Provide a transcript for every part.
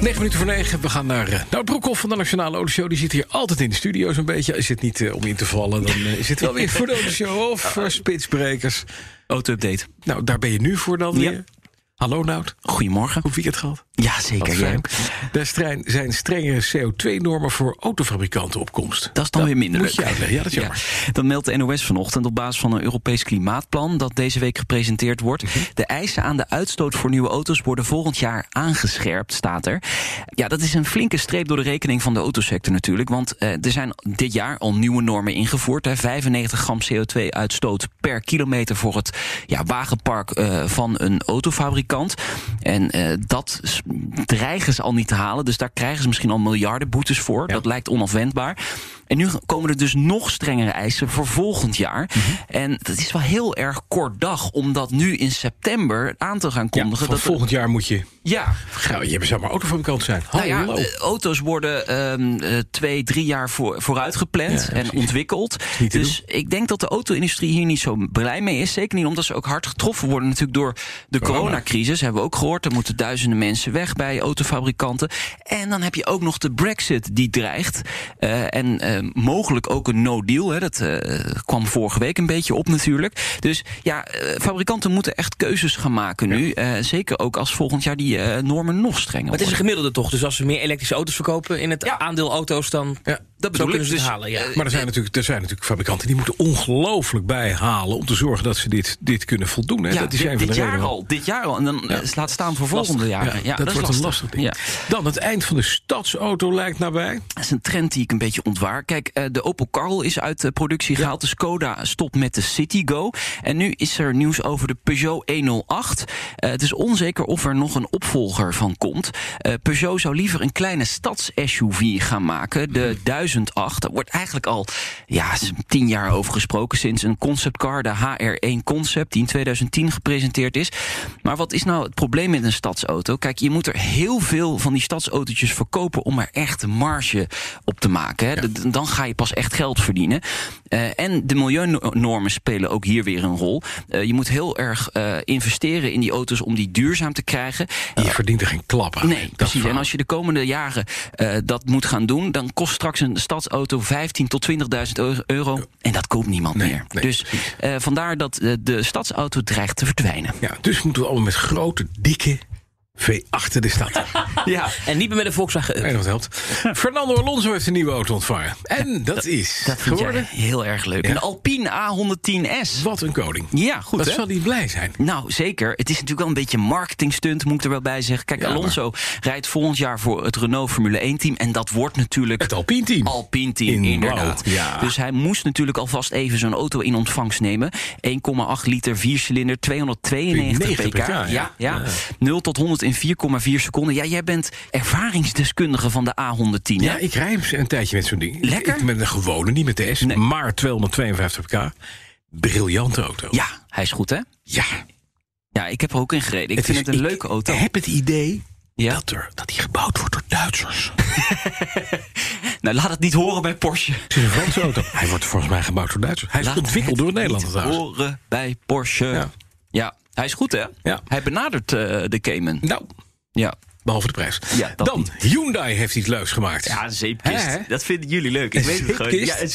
9 minuten voor 9. We gaan naar eh, Nout Broekhoff van de Nationale Autoshow. Die zit hier altijd in de studio zo'n beetje. Is het niet eh, om in te vallen, dan eh, is het wel weer voor de Autoshow of voor spitsbrekers. Auto-update. Nou, daar ben je nu voor dan Ja. weer. Hallo Nout. Goedemorgen. Hoe weekend gehad? Ja, Wat zeker. jij fijn. ook. Daar strijn- zijn strengere CO2-normen voor autofabrikanten op komst. Dat is dan weer minder moet je leuk. uitleggen. Ja, dat is jammer. Ja. Dat meldt de NOS vanochtend op basis van een Europees klimaatplan dat deze week gepresenteerd wordt. Mhm. De eisen aan de uitstoot voor nieuwe auto's worden volgend jaar aangescherpt, staat er. Ja, dat is een flinke streep door de rekening van de autosector natuurlijk. Want eh, er zijn dit jaar al nieuwe normen ingevoerd. Hè, 95 gram CO2-uitstoot per kilometer voor het ja, wagenpark eh, van een autofabrikant. En eh, dat s- dreigen ze al niet te halen. Dus daar krijgen ze misschien al miljarden boetes voor. Dat lijkt onafwendbaar. En nu komen er dus nog strengere eisen voor volgend jaar. Mhm. En dat is wel heel erg kort dag om dat nu in september aan te gaan Ja, kondigen. van dat er- volgend jaar moet je... ja, Gauw, je zou maar autofabrikant zijn. nou Hallo. ja, eh, auto's worden ehm, eh, twee, drie jaar voor, vooruit gepland Ja, en precies. ontwikkeld. niet te Dus ik denk dat de auto-industrie hier niet zo blij mee is. Zeker niet omdat ze ook hard getroffen worden natuurlijk door de Corona. coronacrisis. Hebben we ook gehoord. Er moeten duizenden mensen weg bij autofabrikanten. En dan heb je ook nog de brexit die dreigt. Eh, en eh, mogelijk ook een no-deal. hè. Dat eh, kwam vorige week een beetje op natuurlijk. Dus ja, eh, fabrikanten moeten echt keuzes gaan maken nu. Eh, zeker ook als volgend jaar die eh, normen nog strenger Maar het worden. is een gemiddelde toch? Dus als ze meer elektrische auto's verkopen in het aandeel auto's, dan Ja, dat bedoel ik. kunnen ze het Dus, halen. Ja. eh, Maar er zijn, natuurlijk, er zijn natuurlijk fabrikanten die moeten ongelooflijk bijhalen... om te zorgen dat ze dit, dit kunnen voldoen. Hè? Ja, dat is dit- een van dit de redenen jaar waarom- al. Dit jaar al. En dan eh, laat staan voor volgende Lastig. jaren. Ja, dat, is wordt een lastig ding. Ja. Dan het eind van de stadsauto lijkt nabij. Dat is een trend die ik een beetje ontwaar. Kijk, eh, de Opel Karl is uit eh, productie gehaald. De Skoda stopt met de Citigo. En nu is er nieuws over de Peugeot 108. Eh, het is onzeker of er nog een opvolger van komt. Eh, Peugeot zou liever een kleine stads-SUV gaan maken. De 1008. Daar wordt eigenlijk al ja, s- tien jaar over gesproken. Sinds een conceptcar, de HR1 Concept, die in 2010 gepresenteerd is. Maar wat is nou het probleem met een stadsauto? Kijk, je moet er heel veel van die stadsautootjes verkopen om er echt marge op te maken. Hè? D- Dan ga je pas echt geld verdienen. Eh, en de milieunormen spelen ook hier weer een rol. Eh, je moet heel erg eh, investeren in die auto's om die duurzaam te krijgen. Je verdient er geen klap aan. Nee, Dat precies. verhaal. En als je de komende jaren eh, dat moet gaan doen, dan kost straks een stadsauto 15.000 tot 20.000 euro- euro. En dat koopt niemand Nee, meer. nee, dus eh, vandaar dat eh, de stadsauto dreigt te verdwijnen. ja, dus moeten we allemaal met grote, dikke V8 de stad. Ja. En niet meer met een Volkswagen. en dat helpt. Fernando Alonso heeft een nieuwe auto ontvangen. En dat, is Dat vind geworden... jij heel erg leuk. Een Alpine A110S. Wat een koning. Ja, goed dat hè? zal die blij zijn. Nou, zeker. Het is natuurlijk wel een beetje een marketingstunt, moet ik er wel bij zeggen. Kijk, Ja, maar- Alonso rijdt volgend jaar voor het Renault Formule 1-team. En dat wordt natuurlijk... Het Alpine team. Alpine team, In inderdaad. blauw, ja. Dus hij moest natuurlijk alvast even zo'n auto in ontvangst nemen. 1,8 liter, viercilinder, 292 pk. 92 pk, ja. ja, ja. 0 tot 100 in 4,4 seconden. Ja, jij bent ervaringsdeskundige van de A110, hè? Ja, ik rij hem een tijdje met zo'n ding. Lekker? Ik, met een gewone, niet met de S, Nee. maar 252 pk. Briljante auto. Ja, hij is goed, hè? Ja. Ja, ik heb er ook in gereden. Ik Het vind is- het een ik leuke auto. heb het idee Ja? dat, er, dat die gebouwd wordt door Duitsers. Nou, laat het niet horen bij Porsche. Het is een Franse auto. Hij wordt volgens mij gebouwd door Duitsers. Hij is Laat ontwikkeld het door Nederlanders niet trouwens. horen bij Porsche. Ja. Ja. hij is goed, hè? Ja. Hij benadert eh, de Cayman. Nou, Ja. behalve de prijs. Ja, dat Dan, niet. Hyundai heeft iets leuks gemaakt. Ja, een zeepkist. Hè, hè? Dat vinden jullie leuk. Ik Een weet het gewoon. zeepkist? Ja, een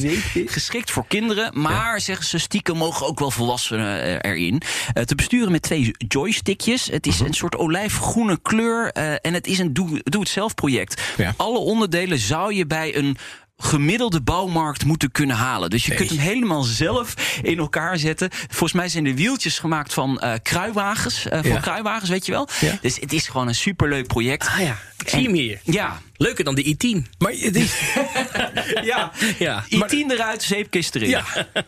zeepkist. Geschikt voor kinderen, maar zeggen ze stiekem mogen ook wel volwassenen eh, erin. Eh, te besturen met twee joystickjes. Het is een soort olijfgroene kleur eh, en het is een doe- doe-het-zelf project. Ja. Alle onderdelen zou je bij een gemiddelde bouwmarkt moeten kunnen halen. Dus je kunt hem helemaal zelf in elkaar zetten. Volgens mij zijn de wieltjes gemaakt van eh kruiwagens. eh, van Ja. kruiwagens, weet je wel. Ja. Dus het is gewoon een superleuk project. Ah ja, ik zie hem hier. Ja, Leuker dan de i10. Maar het is, ja. Ja. I10 eruit, zeepkist erin. ja,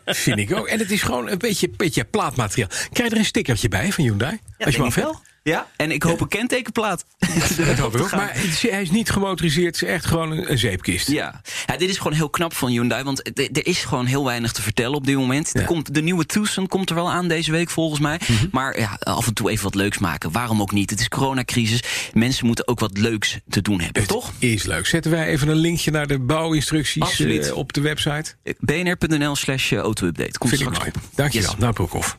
vind ik ook. En het is gewoon een beetje, beetje plaatmateriaal. Krijg je er een stickertje bij van Hyundai? Ja, als je denk hem ik afhaalt? wel. Ja? En ik hoop een kentekenplaat. Dat hoop ik ook. Maar het- hij is niet gemotoriseerd, het is echt gewoon een, een zeepkist. Ja. ja, dit is gewoon heel knap van Hyundai. Want d- er is gewoon heel weinig te vertellen op dit moment. Er Ja. komt, de nieuwe Tucson komt er wel aan deze week volgens mij. Maar ja, af en toe even wat leuks maken. Waarom ook niet? Het is coronacrisis. Mensen moeten ook wat leuks te doen hebben, Het toch? Is leuk. Zetten wij even een linkje naar de bouwinstructies Absoluut. eh, op de website. bnr.nl slash eh, auto-update. Komt Vind ik straks mooi. op. Dankjewel, Yes. Nou Broekhoff.